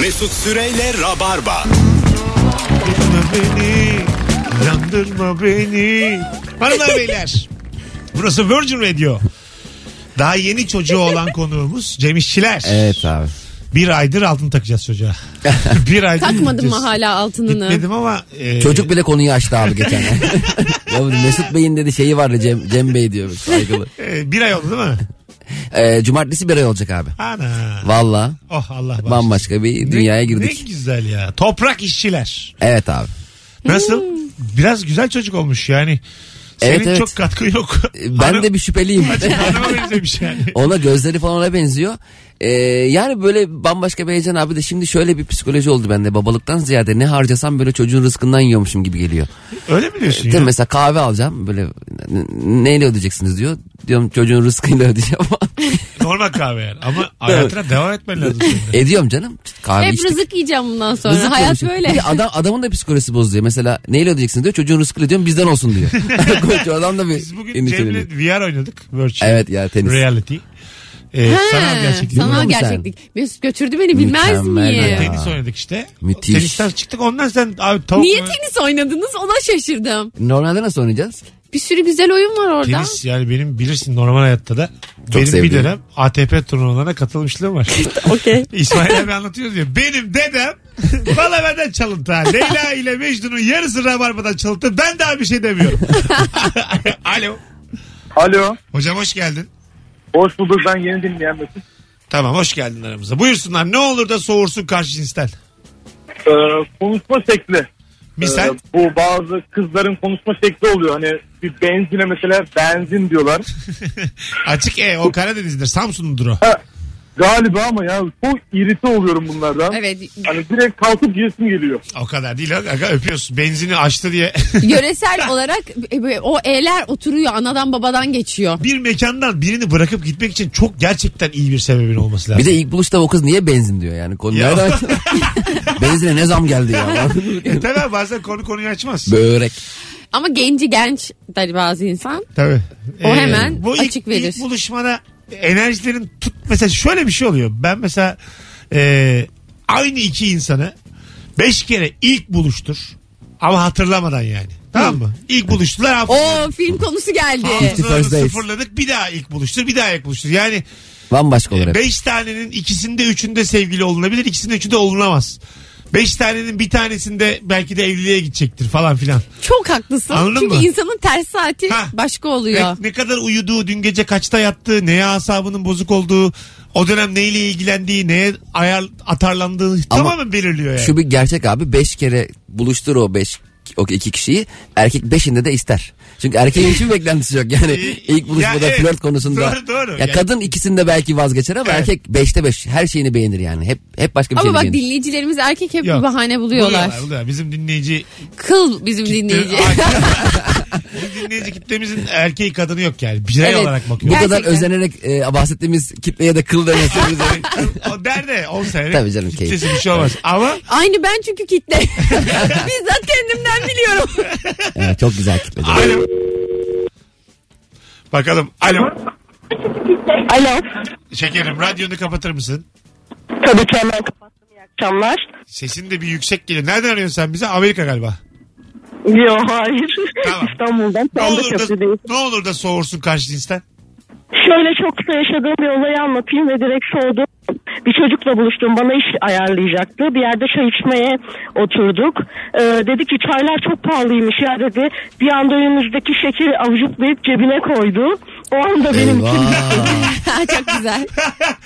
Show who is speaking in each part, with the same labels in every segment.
Speaker 1: Mesut Süreyle Rabarba.
Speaker 2: Yandırma beni, yandırma beni. Hanımlar beyler, burası Virgin Radio. Daha yeni çocuğu olan konuğumuz Cem İşçiler.
Speaker 3: Evet abi.
Speaker 2: Bir aydır altın takacağız çocuğa. bir aydır
Speaker 4: Takmadın mı
Speaker 2: gideceğiz.
Speaker 4: hala altınını?
Speaker 2: Gitmedim ama e,
Speaker 3: Çocuk bile konuyu açtı abi geçen. ay. ya bu Mesut Bey'in dedi şeyi vardı Cem, Cem Bey diyor saygılı.
Speaker 2: e, bir ay oldu değil mi?
Speaker 3: Ee, cumartesi bir ay olacak abi.
Speaker 2: Ana.
Speaker 3: Valla
Speaker 2: Oh Allah bağışlasın.
Speaker 3: bambaşka bir
Speaker 2: Ne-
Speaker 3: dünyaya
Speaker 2: Ne
Speaker 3: girdik.
Speaker 2: güzel ya. Toprak işçiler.
Speaker 3: Evet abi.
Speaker 2: Nasıl? Biraz güzel çocuk olmuş yani. Senin
Speaker 3: Evet, evet.
Speaker 2: çok katkı yok.
Speaker 3: Ben de bir şüpheliyim.
Speaker 2: Hanıma benzemiş yani.
Speaker 3: Ona gözleri falan ona benziyor. Ee, yani böyle bambaşka bir heyecan abi de şimdi şöyle bir psikoloji oldu bende babalıktan ziyade ne harcasam böyle çocuğun rızkından yiyormuşum gibi geliyor.
Speaker 2: Öyle mi diyorsun
Speaker 3: Değil mi?
Speaker 2: ya?
Speaker 3: Mesela kahve alacağım böyle n- neyle ödeyeceksiniz diyor. Diyorum çocuğun rızkıyla ödeyeceğim
Speaker 2: Normal kahve yani. Ama hayatına devam etmen lazım. senin de.
Speaker 3: Ediyorum canım kahve
Speaker 4: Hep
Speaker 3: içtik.
Speaker 4: rızık yiyeceğim bundan sonra.
Speaker 3: Rızık
Speaker 4: Hayat
Speaker 3: konuşuyor. Bir
Speaker 4: böyle.
Speaker 3: de adam, adamın da psikolojisi bozuyor. Mesela neyle ödeyeceksin diyor. Çocuğun rızkıyla diyorum bizden olsun diyor. Koca adam da
Speaker 2: Biz
Speaker 3: bir
Speaker 2: bugün Cem'le
Speaker 3: endişeleniyor.
Speaker 2: VR oynadık. Virtual
Speaker 3: Evet ya tenis.
Speaker 2: Reality. Ee, sanal
Speaker 4: He,
Speaker 2: gerçeklik.
Speaker 4: sanal
Speaker 3: Biliyor musun sen?
Speaker 4: gerçeklik. Mesut götürdü beni bilmez
Speaker 3: Mükemmel
Speaker 4: miyim?
Speaker 3: ya.
Speaker 2: Tenis oynadık işte.
Speaker 3: Müthiş.
Speaker 2: Tenisten çıktık ondan sen abi tavuk
Speaker 4: Niye
Speaker 2: mu-
Speaker 4: tenis oynadınız ona şaşırdım.
Speaker 3: Normalde nasıl oynayacağız?
Speaker 4: Bir sürü güzel oyun var orada.
Speaker 2: Tenis yani benim bilirsin normal hayatta da benim bir
Speaker 3: sevdiğim.
Speaker 2: dönem ATP turnuvalarına katılmışlığım var.
Speaker 4: Okey.
Speaker 2: İsmail abi anlatıyoruz ya benim dedem bana benden çalıntı ha. Leyla ile Mecnun'un yarısı rabarbadan çalıntı ben daha bir şey demiyorum. Alo.
Speaker 5: Alo.
Speaker 2: Hocam hoş geldin.
Speaker 5: Hoş bulduk ben yeni dinleyen Mesut.
Speaker 2: Tamam hoş geldin aramıza. Buyursunlar ne olur da soğursun karşı cinsten.
Speaker 5: Ee, konuşma şekli.
Speaker 2: Misal
Speaker 5: Ee, bu bazı kızların konuşma şekli oluyor. Hani bir benzine mesela benzin diyorlar.
Speaker 2: açık E o Karadeniz'dir Samsun'dur o.
Speaker 5: Ha, galiba ama ya çok irite oluyorum bunlardan.
Speaker 4: Evet.
Speaker 5: Hani direkt kalkıp giresim geliyor.
Speaker 2: O kadar değil aga öpüyorsun benzini açtı diye.
Speaker 4: Yöresel olarak e, böyle o e'ler oturuyor anadan babadan geçiyor.
Speaker 2: bir mekandan birini bırakıp gitmek için çok gerçekten iyi bir sebebin olması lazım.
Speaker 3: Bir de ilk buluşta o kız niye benzin diyor yani. Konu
Speaker 2: Ya.
Speaker 3: nereden- Benzine ne zam geldi ya.
Speaker 2: E, tabii bazen konu konuyu açmaz.
Speaker 3: Börek.
Speaker 4: Ama genci genç der bazı insan.
Speaker 2: Tabii.
Speaker 4: O hemen
Speaker 2: bu ilk,
Speaker 4: açık verir.
Speaker 2: ilk buluşmada enerjilerin tut mesela şöyle bir şey oluyor. Ben mesela e, aynı iki insanı beş kere ilk buluştur ama hatırlamadan yani. Tamam mı? İlk buluştular
Speaker 4: O
Speaker 2: hafızalarını
Speaker 4: film konusu geldi.
Speaker 3: First dates.
Speaker 2: sıfırladık bir daha ilk buluştur bir daha ilk buluştur. Yani
Speaker 3: Bambaşka olur hep.
Speaker 2: Beş tanenin ikisinde üçünde sevgili olunabilir, ikisinde üçünde olunamaz. Beş tanenin bir tanesinde belki de evliliğe gidecektir falan filan.
Speaker 4: Çok haklısın.
Speaker 2: Anladın
Speaker 4: Çünkü
Speaker 2: mı?
Speaker 4: insanın ters saati
Speaker 2: Ha.
Speaker 4: başka
Speaker 2: Ne,
Speaker 4: oluyor.
Speaker 2: ne kadar uyuduğu, dün gece kaçta yattığı, neye asabının bozuk olduğu, o dönem neyle ilgilendiği, neye ayar atarlandığı tamamen belirliyor yani.
Speaker 3: Şu bir gerçek abi. Beş kere buluştur o beş o iki kişiyi erkek beşinde de ister. Çünkü erkeğin hiçbir beklentisi yok yani ilk buluşmada
Speaker 2: Ya evet.
Speaker 3: flört konusunda.
Speaker 2: Doğru, doğru.
Speaker 3: Ya
Speaker 2: Yani-
Speaker 3: kadın ikisinde belki vazgeçer ama
Speaker 2: Evet.
Speaker 3: erkek beşte beş her şeyini beğenir yani. Hep hep başka bir
Speaker 4: Ama
Speaker 3: şeyini
Speaker 4: bak
Speaker 3: beğenir.
Speaker 4: dinleyicilerimiz erkek hep
Speaker 2: Yok.
Speaker 4: bir bahane buluyorlar.
Speaker 2: buluyorlar. Bizim dinleyici
Speaker 4: Kıl bizim dinleyici.
Speaker 2: Bizim dinleyici kitlemizin erkeği kadını yok yani. Birey
Speaker 4: Evet.
Speaker 2: olarak
Speaker 3: Bu
Speaker 2: bakıyor.
Speaker 3: kadar
Speaker 4: Gerçekten.
Speaker 3: özenerek e, bahsettiğimiz kitleye de kıl demesi.
Speaker 2: o derde 10 senelik
Speaker 3: Tabii canım, keyif.
Speaker 2: kitlesi bir şey olmaz. Ama
Speaker 4: Aynı ben çünkü kitle. Bizzat kendimden biliyorum.
Speaker 3: Evet, çok güzel kitle. canım.
Speaker 2: Alo. Bakalım. Alo.
Speaker 6: Alo.
Speaker 2: Şekerim radyonu kapatır mısın?
Speaker 6: Tabii ki hemen kapattım. İyi akşamlar.
Speaker 2: Sesin de bir yüksek geliyor. Nereden arıyorsun sen bize? Amerika galiba.
Speaker 6: Yo hayır.
Speaker 2: Tamam.
Speaker 6: İstanbul'dan.
Speaker 2: Ne
Speaker 6: Sandık
Speaker 2: olur da,
Speaker 6: Köprü'deyiz.
Speaker 2: ne olur da soğursun karşı cinsten.
Speaker 6: Şöyle çok kısa yaşadığım bir olayı anlatayım ve direkt soğudum. Bir çocukla buluştum. Bana iş ayarlayacaktı. Bir yerde çay içmeye oturduk. Ee, dedi ki çaylar çok pahalıymış ya dedi. Bir anda önümüzdeki şekeri avucuklayıp cebine koydu. O anda benim için
Speaker 3: Eyvah.
Speaker 4: Çok güzel.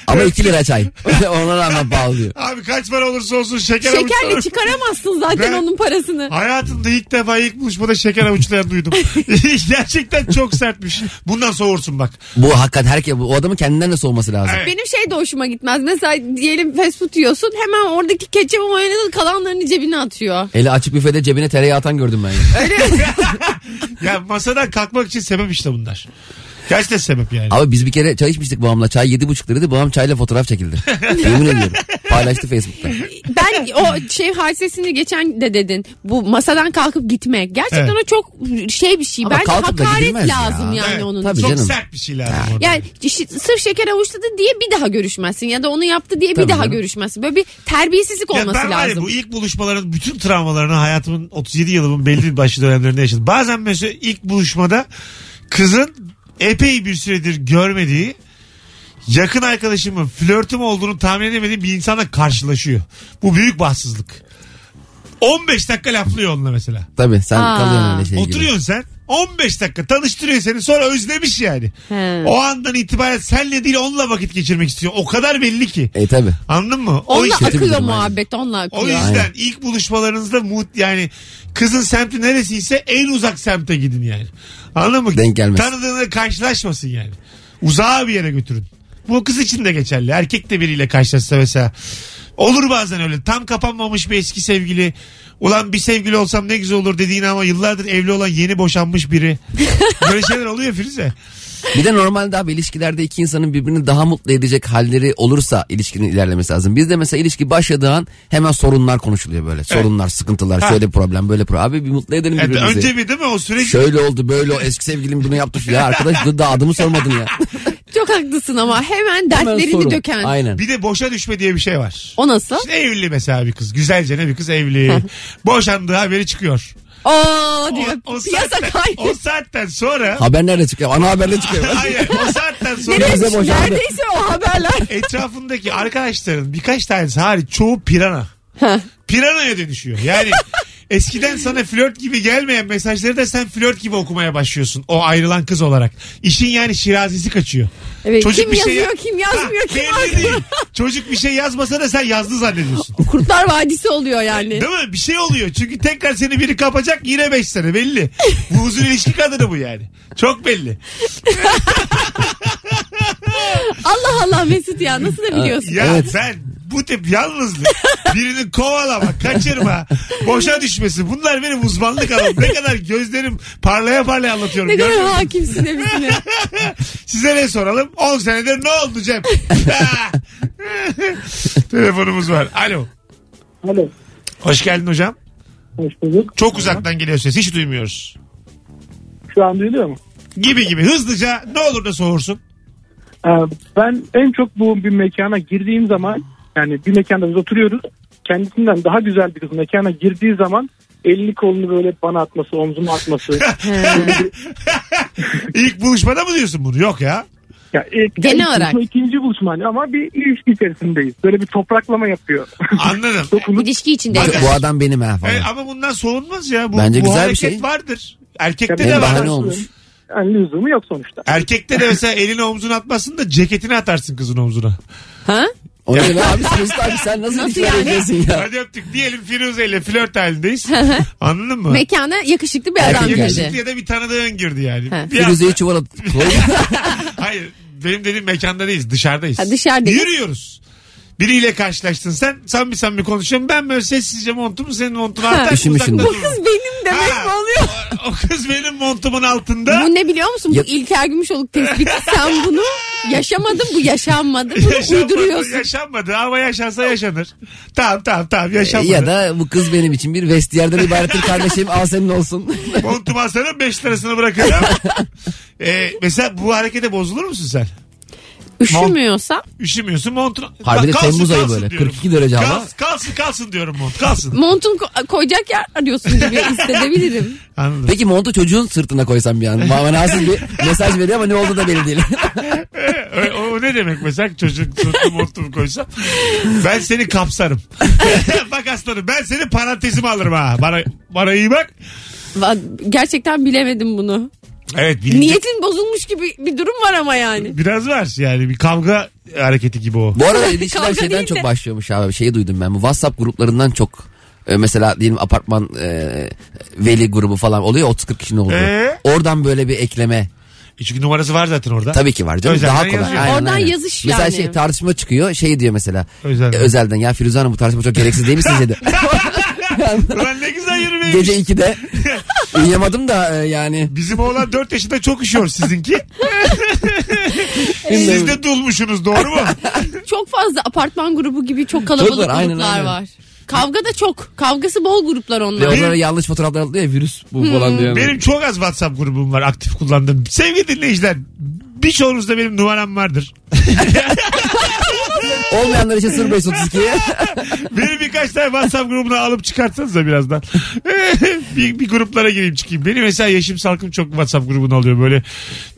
Speaker 3: Ama 2 lira çay. Ona rağmen pahalı diyor.
Speaker 2: Abi kaç para olursa olsun şeker
Speaker 4: Şekerle
Speaker 2: avuçlarım.
Speaker 4: çıkaramazsın zaten
Speaker 2: Ben-
Speaker 4: onun parasını.
Speaker 2: Hayatımda ilk defa ilk buluşmada şeker avuçlayan duydum. Gerçekten çok sertmiş. Bundan soğursun bak.
Speaker 3: Bu hakikaten herkes bu adamın kendinden de soğuması lazım.
Speaker 2: Evet.
Speaker 4: Benim şey de hoşuma gitmez. Mesela diyelim fast food yiyorsun hemen oradaki ketçap mayonezin kalanlarını cebine atıyor.
Speaker 3: Hele açık büfede cebine tereyağı atan gördüm ben. ya.
Speaker 2: Ya masadan kalkmak için sebep işte bunlar. Gerçekten sebep yani.
Speaker 3: Abi biz bir kere çay içmiştik babamla. Çay 7,5 liraydı. Babam çayla fotoğraf çekildi. Yemin ediyorum. Paylaştı Facebook'ta.
Speaker 4: Ben
Speaker 2: de.
Speaker 4: o şey hadisesini geçen de dedin. Bu masadan kalkıp gitmek. Gerçekten
Speaker 2: Evet.
Speaker 4: o çok şey bir şey.
Speaker 3: Ama
Speaker 4: Bence
Speaker 3: kalkıp da
Speaker 4: hakaret
Speaker 3: gidilmez ya.
Speaker 4: lazım yani
Speaker 2: Evet.
Speaker 4: onun.
Speaker 3: Tabii
Speaker 2: Çok
Speaker 3: canım.
Speaker 2: sert bir şey lazım orada.
Speaker 4: Yani işte sırf şeker avuçladı diye bir daha görüşmezsin ya da onu yaptı diye bir
Speaker 3: Tabii
Speaker 4: daha
Speaker 3: canım.
Speaker 4: görüşmezsin. Böyle bir terbiyesizlik
Speaker 2: Ya
Speaker 4: olması
Speaker 2: ben var ya
Speaker 4: lazım.
Speaker 2: bu ilk buluşmaların bütün travmalarını hayatımın 37 yılımın belli başlı dönemlerinde yaşadım. Bazen mesela ilk buluşmada kızın epey bir süredir görmediği yakın arkadaşımın flörtüm olduğunu tahmin edemediğim bir insanla karşılaşıyor. Bu büyük bahtsızlık. 15 dakika laflıyor onunla mesela.
Speaker 3: Tabii sen
Speaker 4: Aa.
Speaker 3: kalıyorsun öyle şey gibi.
Speaker 2: Oturuyorsun sen 15 dakika tanıştırıyor seni sonra özlemiş yani.
Speaker 4: He.
Speaker 2: O andan itibaren senle değil onunla vakit geçirmek istiyor. O kadar belli ki.
Speaker 3: E tabii.
Speaker 2: Anladın mı? O
Speaker 4: Onunla
Speaker 2: işte-
Speaker 3: kötü bir
Speaker 4: akıyor
Speaker 3: durum yani.
Speaker 4: muhabbet onunla akıyor.
Speaker 2: o yüzden ilk buluşmalarınızda mut yani kızın semti neresiyse en uzak semte gidin yani. Anladın mı?
Speaker 3: Denk gelmesin.
Speaker 2: Tanıdığına karşılaşmasın yani. Uzağa bir yere götürün. Bu kız için de geçerli. Erkek de biriyle karşılaşsa mesela. Olur bazen öyle. Tam kapanmamış bir eski sevgili. Ulan bir sevgili olsam ne güzel olur dediğin ama yıllardır evli olan yeni boşanmış biri. Böyle şeyler oluyor Firuze.
Speaker 3: Bir de normalde abi ilişkilerde iki insanın birbirini daha mutlu edecek halleri olursa ilişkinin ilerlemesi lazım. Bizde mesela ilişki başladığı an hemen sorunlar konuşuluyor böyle. Sorunlar, sıkıntılar,
Speaker 2: Ha.
Speaker 3: şöyle problem, böyle problem. Abi bir mutlu edelim
Speaker 2: Evet,
Speaker 3: birbirimizi.
Speaker 2: önce bir değil mi o süreç?
Speaker 3: Şöyle oldu böyle o eski sevgilim bunu yaptı ya arkadaş dur daha adımı sormadın ya.
Speaker 4: Çok haklısın ama hemen
Speaker 3: Hemen
Speaker 4: dertlerini
Speaker 3: sorun.
Speaker 4: döken.
Speaker 3: Aynen.
Speaker 2: Bir de boşa düşme diye bir şey var.
Speaker 4: O nasıl?
Speaker 2: İşte evli mesela bir kız. Güzelce ne bir kız evli. Boşandığı haberi çıkıyor.
Speaker 4: Aa
Speaker 2: O,
Speaker 4: diyor.
Speaker 2: o
Speaker 4: Piyasa
Speaker 2: saatten,
Speaker 4: kaydı.
Speaker 2: o saatten sonra...
Speaker 3: Haber nerede çıkıyor? Ana haberde çıkıyor.
Speaker 2: Hayır o saatten sonra
Speaker 3: bize
Speaker 4: Neresi-
Speaker 3: boşandı.
Speaker 4: Neredeyse o haberler.
Speaker 2: etrafındaki arkadaşların birkaç tanesi hariç çoğu pirana. Piranaya dönüşüyor. Yani eskiden sana flört gibi gelmeyen mesajları da sen flört gibi okumaya başlıyorsun. O ayrılan kız olarak. İşin yani şirazesi kaçıyor.
Speaker 4: Evet, kim
Speaker 2: bir şey-
Speaker 4: yazıyor, kim yazmıyor, kim
Speaker 2: belli
Speaker 4: haklı.
Speaker 2: değil. Çocuk bir şey yazmasa da sen yazdı zannediyorsun.
Speaker 4: Kurtlar Vadisi oluyor yani.
Speaker 2: Değil mi? Bir şey oluyor. Çünkü tekrar seni biri kapacak yine 5 sene belli. Bu uzun ilişki kadını bu yani. Çok belli.
Speaker 4: Allah Allah Mesut ya nasıl da biliyorsun?
Speaker 2: Ya sen bu tip yalnızlık, birini kovalama, kaçırma, boşa düşmesi bunlar benim uzmanlık alanım. Ne kadar gözlerim parlaya parlaya anlatıyorum.
Speaker 4: Ne kadar
Speaker 2: Görmüyor musun?
Speaker 4: hakimsin hepsine.
Speaker 2: Size ne soralım? 10 senedir ne oldu Cem? Telefonumuz var. Alo.
Speaker 5: Alo.
Speaker 2: Hoş geldin hocam.
Speaker 5: Hoş bulduk.
Speaker 2: Çok uzaktan geliyor ses. Hiç duymuyoruz.
Speaker 5: Şu an duyuluyor mu?
Speaker 2: Gibi gibi. Hızlıca ne olur da soğursun.
Speaker 5: Ee, ben en çok bu bir mekana girdiğim zaman yani bir mekanda biz oturuyoruz. Kendisinden daha güzel bir kız mekana girdiği zaman elini kolunu böyle bana atması, omzuma atması.
Speaker 2: İlk buluşmada mı diyorsun bunu? Yok ya.
Speaker 5: ya, e,
Speaker 4: Genel
Speaker 5: ilk
Speaker 4: olarak.
Speaker 5: buluşma, ikinci buluşma hani ama bir ilişki içerisindeyiz. Böyle bir topraklama yapıyor.
Speaker 2: Anladım.
Speaker 5: Dokunup
Speaker 4: İlişki içinde.
Speaker 3: Bak, bu adam benim ha falan.
Speaker 2: E, ama bundan soğunmaz ya. Bu,
Speaker 3: Bence
Speaker 2: bu
Speaker 3: güzel bir
Speaker 2: hareket
Speaker 3: şey.
Speaker 2: vardır. Erkekte
Speaker 5: Tabii.
Speaker 2: de
Speaker 3: Benim
Speaker 2: var.
Speaker 3: bahane olmuş.
Speaker 5: yani lüzumu yok sonuçta.
Speaker 2: Erkekte de mesela elini omzuna atmazsın da ceketini atarsın kızın omzuna.
Speaker 4: Ha?
Speaker 3: O ne be abi Mesut abi sen nasıl,
Speaker 4: Nasıl
Speaker 3: nasıl
Speaker 4: yani?
Speaker 3: ya?
Speaker 2: Hadi öptük. Diyelim Firuze ile flört halindeyiz. Anladın mı?
Speaker 4: Mekana yakışıklı bir
Speaker 3: Erkek
Speaker 4: adam
Speaker 2: Yakışıklı
Speaker 4: girdi.
Speaker 2: ya da bir tanıdığın girdi yani.
Speaker 4: Ha.
Speaker 2: Bir şey
Speaker 3: Firuze'yi çuvala koy.
Speaker 2: anda- hayır. Benim dediğim mekanda değiliz. Dışarıdayız.
Speaker 4: Ha, dışarıdayız.
Speaker 2: Yürüyoruz. Biriyle karşılaştın sen. Sen bir sen bir konuşuyorum. Ben böyle sessizce montumu senin montuna atar.
Speaker 3: Işın
Speaker 2: uzakta
Speaker 3: ışın.
Speaker 4: Bu
Speaker 2: dururum.
Speaker 4: kız benim demek mi
Speaker 2: Ha.
Speaker 4: oluyor?
Speaker 2: O, o kız benim montumun altında.
Speaker 4: Bu ne biliyor musun? Bu
Speaker 3: Ya-
Speaker 4: İlker Gümüşoluk tespiti. Sen bunu yaşamadın, bu yaşanmadı. Bunu
Speaker 2: Yaşanmadı,
Speaker 4: uyduruyorsun.
Speaker 2: Yaşanmadı ama yaşansa yaşanır. Tamam tamam tamam yaşanmadı.
Speaker 3: ya da bu kız benim için bir vestiyerden ibarettir kardeşim al senin olsun.
Speaker 2: Montumu alsana 5 lirasını bırakırım. ee, mesela bu harekete bozulur musun sen?
Speaker 4: Üşümüyorsa
Speaker 2: Üşümüyorsun montun.
Speaker 3: Harbi de
Speaker 2: Bak, kalsın,
Speaker 3: Temmuz ayı
Speaker 2: kalsın
Speaker 3: böyle,
Speaker 2: diyorum.
Speaker 3: 42 derece hava.
Speaker 2: Kals- kalsın kalsın diyorum mont kalsın.
Speaker 4: montun ko- koyacak yer arıyorsun gibi hissedebilirim.
Speaker 2: Anladım.
Speaker 3: Peki montu çocuğun sırtına koysam bir an. Manasız bir mesaj veriyor ama ne oldu da belli değil.
Speaker 2: Ee, o, o ne demek mesela çocuk sırtlı montumu koysam. Ben seni kapsarım. bak aslanım ben seni parantezime alırım ha. Bana, bana iyi bak.
Speaker 4: Va- Gerçekten bilemedim bunu.
Speaker 2: Evet bilince-
Speaker 4: Niyetin bozulmuş gibi bir durum var ama yani.
Speaker 2: Biraz var yani bir kavga hareketi gibi o.
Speaker 3: Bu arada ilişkiler
Speaker 4: Kavga
Speaker 3: şeyden
Speaker 4: değil
Speaker 3: çok
Speaker 4: de.
Speaker 3: başlıyormuş abi. Şeyi duydum ben bu WhatsApp gruplarından çok. e, mesela diyelim apartman e, veli grubu falan oluyor 30-40 kişinin olduğu.
Speaker 2: Ee?
Speaker 3: Oradan böyle bir ekleme.
Speaker 2: E Çünkü numarası var zaten orada.
Speaker 3: Tabii ki var canım
Speaker 2: Özelden
Speaker 3: daha kolay.
Speaker 2: yazıyor.
Speaker 4: Oradan yazış
Speaker 3: mesela
Speaker 4: yani.
Speaker 3: şey tartışma çıkıyor şey diyor mesela.
Speaker 2: Özelden.
Speaker 3: Özelden. özelden ya Firuze Hanım bu tartışma çok gereksiz değil mi sizce de?
Speaker 2: Ulan ne güzel yürümeymiş.
Speaker 3: Gece 2'de uyuyamadım da e, yani.
Speaker 2: Bizim oğlan 4 yaşında çok üşüyor sizinki. Siz de dulmuşsunuz doğru mu?
Speaker 4: Çok fazla apartman grubu gibi çok
Speaker 3: Çok
Speaker 4: kalabalık
Speaker 3: var, aynen,
Speaker 4: gruplar
Speaker 3: aynen.
Speaker 4: var. Kavga da çok. Kavgası bol gruplar onlar.
Speaker 3: Ve
Speaker 2: Benim-
Speaker 3: onlara yanlış fotoğraflar atılıyor ya virüs bu
Speaker 4: Hmm.
Speaker 3: falan diye.
Speaker 2: Benim çok az WhatsApp grubum var aktif kullandığım. Sevgili dinleyiciler birçoğunuzda benim numaram vardır.
Speaker 3: Olmayanlar için 0532'ye.
Speaker 2: Beni birkaç tane WhatsApp grubuna alıp çıkartsanız da birazdan. bir, bir gruplara gireyim çıkayım. Benim mesela Yeşim Salkım çok WhatsApp grubuna alıyor böyle.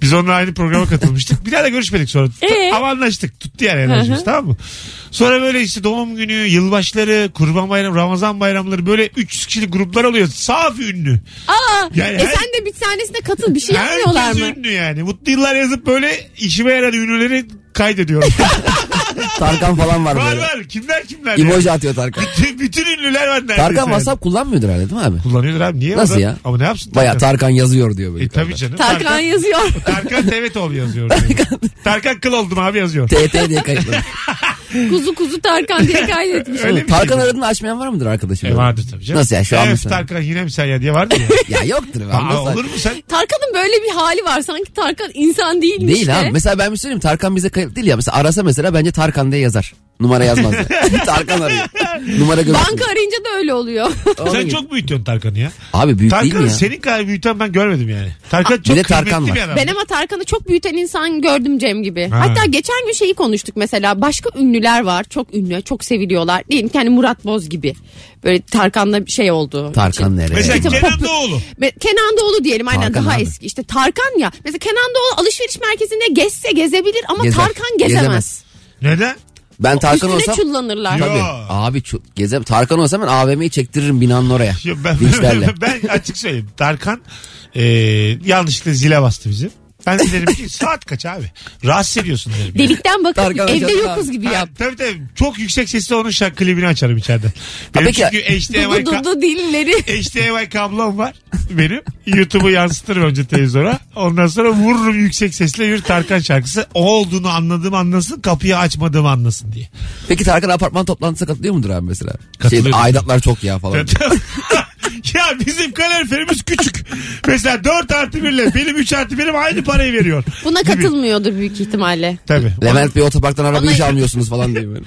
Speaker 2: Biz onunla aynı programa katılmıştık. Bir daha da görüşmedik sonra.
Speaker 4: Ee?
Speaker 2: Ama anlaştık. Tuttu yani enerjimiz tamam mı? Sonra böyle işte doğum günü, yılbaşları, kurban bayramı, ramazan bayramları böyle 300 kişilik gruplar oluyor. Saf ünlü.
Speaker 4: Aa,
Speaker 2: Yani
Speaker 4: e
Speaker 2: her-
Speaker 4: sen de bir tanesine katıl bir şey yapmıyorlar
Speaker 2: Herkes
Speaker 4: mı?
Speaker 2: ünlü yani. Mutlu yıllar yazıp böyle işime yarar ünlüleri kaydediyorum.
Speaker 3: Tarkan falan var
Speaker 2: var
Speaker 3: böyle.
Speaker 2: var. Kimler kimler? ya?
Speaker 3: İmoji atıyor Tarkan.
Speaker 2: Bütün ünlüler var neredeyse.
Speaker 3: Tarkan
Speaker 2: yani.
Speaker 3: WhatsApp kullanmıyordur herhalde değil mi abi?
Speaker 2: Kullanıyordur abi niye?
Speaker 3: Nasıl
Speaker 2: Adam-
Speaker 3: ya?
Speaker 2: Ama ne yapsın?
Speaker 3: Baya Tarkan yazıyor diyor böyle.
Speaker 2: E tabii canım.
Speaker 4: Tarkan yazıyor.
Speaker 2: Tarkan Tevetol yazıyor. Tarkan Kıl oldum abi yazıyor.
Speaker 3: TT diye kayıtladı.
Speaker 4: kuzu kuzu Tarkan diye kaydetmiş.
Speaker 2: Öyle mi?
Speaker 3: Tarkan aradığını açmayan var mıdır arkadaşım?
Speaker 2: E vardır tabii canım.
Speaker 3: Nasıl ya şu an
Speaker 2: Evet,
Speaker 3: mesela?
Speaker 2: Tarkan yine mi sen ya diye var mı ya?
Speaker 3: Ya yoktur. be,
Speaker 2: Aa,
Speaker 3: anlasana.
Speaker 2: olur mu sen?
Speaker 4: Tarkan'ın böyle bir hali var. Sanki Tarkan insan değilmiş de.
Speaker 3: Değil abi. Mesela ben bir şey söyleyeyim Tarkan bize kayıtlı değil ya. Mesela arasa mesela bence Tarkan diye yazar. Numara yazmaz. ya. Tarkan arıyor. Numara görürsün.
Speaker 4: Banka arayınca da öyle oluyor.
Speaker 3: Ona
Speaker 2: Sen
Speaker 3: göre.
Speaker 2: çok büyütüyorsun Tarkan'ı ya.
Speaker 3: Abi büyük değil mi
Speaker 2: Tarkan'ı
Speaker 3: ya?
Speaker 2: senin kadar büyüten ben görmedim yani. Tarkan çok
Speaker 3: de
Speaker 2: kıymetli
Speaker 3: Tarkan var.
Speaker 2: bir adam.
Speaker 4: Ben ama Tarkan'ı çok büyüten insan gördüm Cem gibi.
Speaker 2: Ha.
Speaker 4: Hatta geçen gün şeyi konuştuk mesela. Başka ünlüler var. Çok ünlü, çok seviliyorlar. Diyelim ki hani Murat Boz gibi. Böyle Tarkan'la bir şey oldu.
Speaker 3: Tarkan nereye?
Speaker 2: Mesela
Speaker 4: Evet.
Speaker 2: Kenan Doğulu.
Speaker 4: Ve Kenan Doğulu diyelim aynen
Speaker 3: Tarkan
Speaker 4: daha
Speaker 3: abi.
Speaker 4: eski. İşte Tarkan ya. Mesela Kenan Doğulu alışveriş merkezinde gezse gezebilir ama
Speaker 3: Gezer.
Speaker 4: Tarkan gezemez.
Speaker 3: Gezemez.
Speaker 2: Neden?
Speaker 3: Ben Tarkan
Speaker 4: Üstüne
Speaker 3: olsam...
Speaker 4: çullanırlar.
Speaker 2: Yok.
Speaker 3: Tabii.
Speaker 2: Aa.
Speaker 3: Abi çu- gezem. Tarkan olsam ben AVM'yi çektiririm binanın oraya.
Speaker 2: Yo, ben,
Speaker 3: Vinçlerle.
Speaker 2: ben açık söyleyeyim. Tarkan e, yanlışlıkla zile bastı bizi. Ben de derim ki saat kaç abi? Rahatsız ediyorsun derim. yani.
Speaker 4: Delikten bakıp
Speaker 3: Tarkan
Speaker 4: evde
Speaker 3: hocam
Speaker 4: yokuz
Speaker 3: abi.
Speaker 4: gibi yap.
Speaker 2: Ha, tabii tabii. Çok yüksek sesle onun şarkı klibini açarım içeride. Benim
Speaker 3: peki.
Speaker 2: çünkü HDMI,
Speaker 4: Dudu
Speaker 2: ka-
Speaker 4: dudu dilleri.
Speaker 2: HDMI kablom var benim. YouTube'u yansıtırım önce televizyona. Ondan sonra vururum yüksek sesle bir Tarkan şarkısı. O olduğunu anladığım anlasın, kapıyı açmadığımı anlasın diye.
Speaker 3: Peki Tarkan apartman toplantısına katılıyor mudur abi mesela? Şey,
Speaker 2: Katılıyorum.
Speaker 3: aidatlar çok ya falan.
Speaker 2: ya bizim kaloriferimiz küçük. Mesela 4 artı 1 ile benim 3 artı 1'im aynı parayı veriyor.
Speaker 4: Buna
Speaker 2: Gibi.
Speaker 4: katılmıyordur büyük ihtimalle.
Speaker 2: Tabii.
Speaker 3: Levent Bey otoparktan araba
Speaker 4: Ona-
Speaker 3: hiç almıyorsunuz falan diye böyle.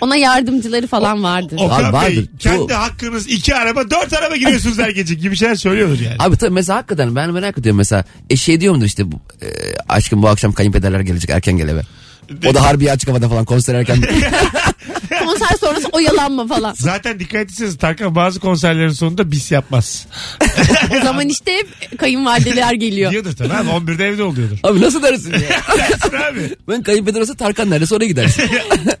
Speaker 4: Ona yardımcıları falan vardır.
Speaker 2: Okan
Speaker 3: Var-
Speaker 2: Bey,
Speaker 3: vardır.
Speaker 2: kendi
Speaker 3: Çoğu-
Speaker 2: hakkınız iki araba dört araba giriyorsunuz her gece gibi şeyler söylüyordur yani.
Speaker 3: Abi tabii mesela hakikaten ben merak ediyorum mesela. E şey diyor mudur işte bu, e, aşkım bu akşam kayınpederler gelecek erken gel eve. O da harbiye açık havada falan konser erken.
Speaker 4: Konser sonrası oyalanma falan.
Speaker 2: Zaten dikkat etseniz Tarkan bazı konserlerin sonunda bis yapmaz.
Speaker 4: O zaman işte hep kayınvalideler geliyor.
Speaker 2: Diyordur tabii abi 11'de evde oluyordur.
Speaker 3: abi nasıl dersin ya?
Speaker 2: dersin abi.
Speaker 3: Ben kayınpeder olsa Tarkan nerede sonra gidersin.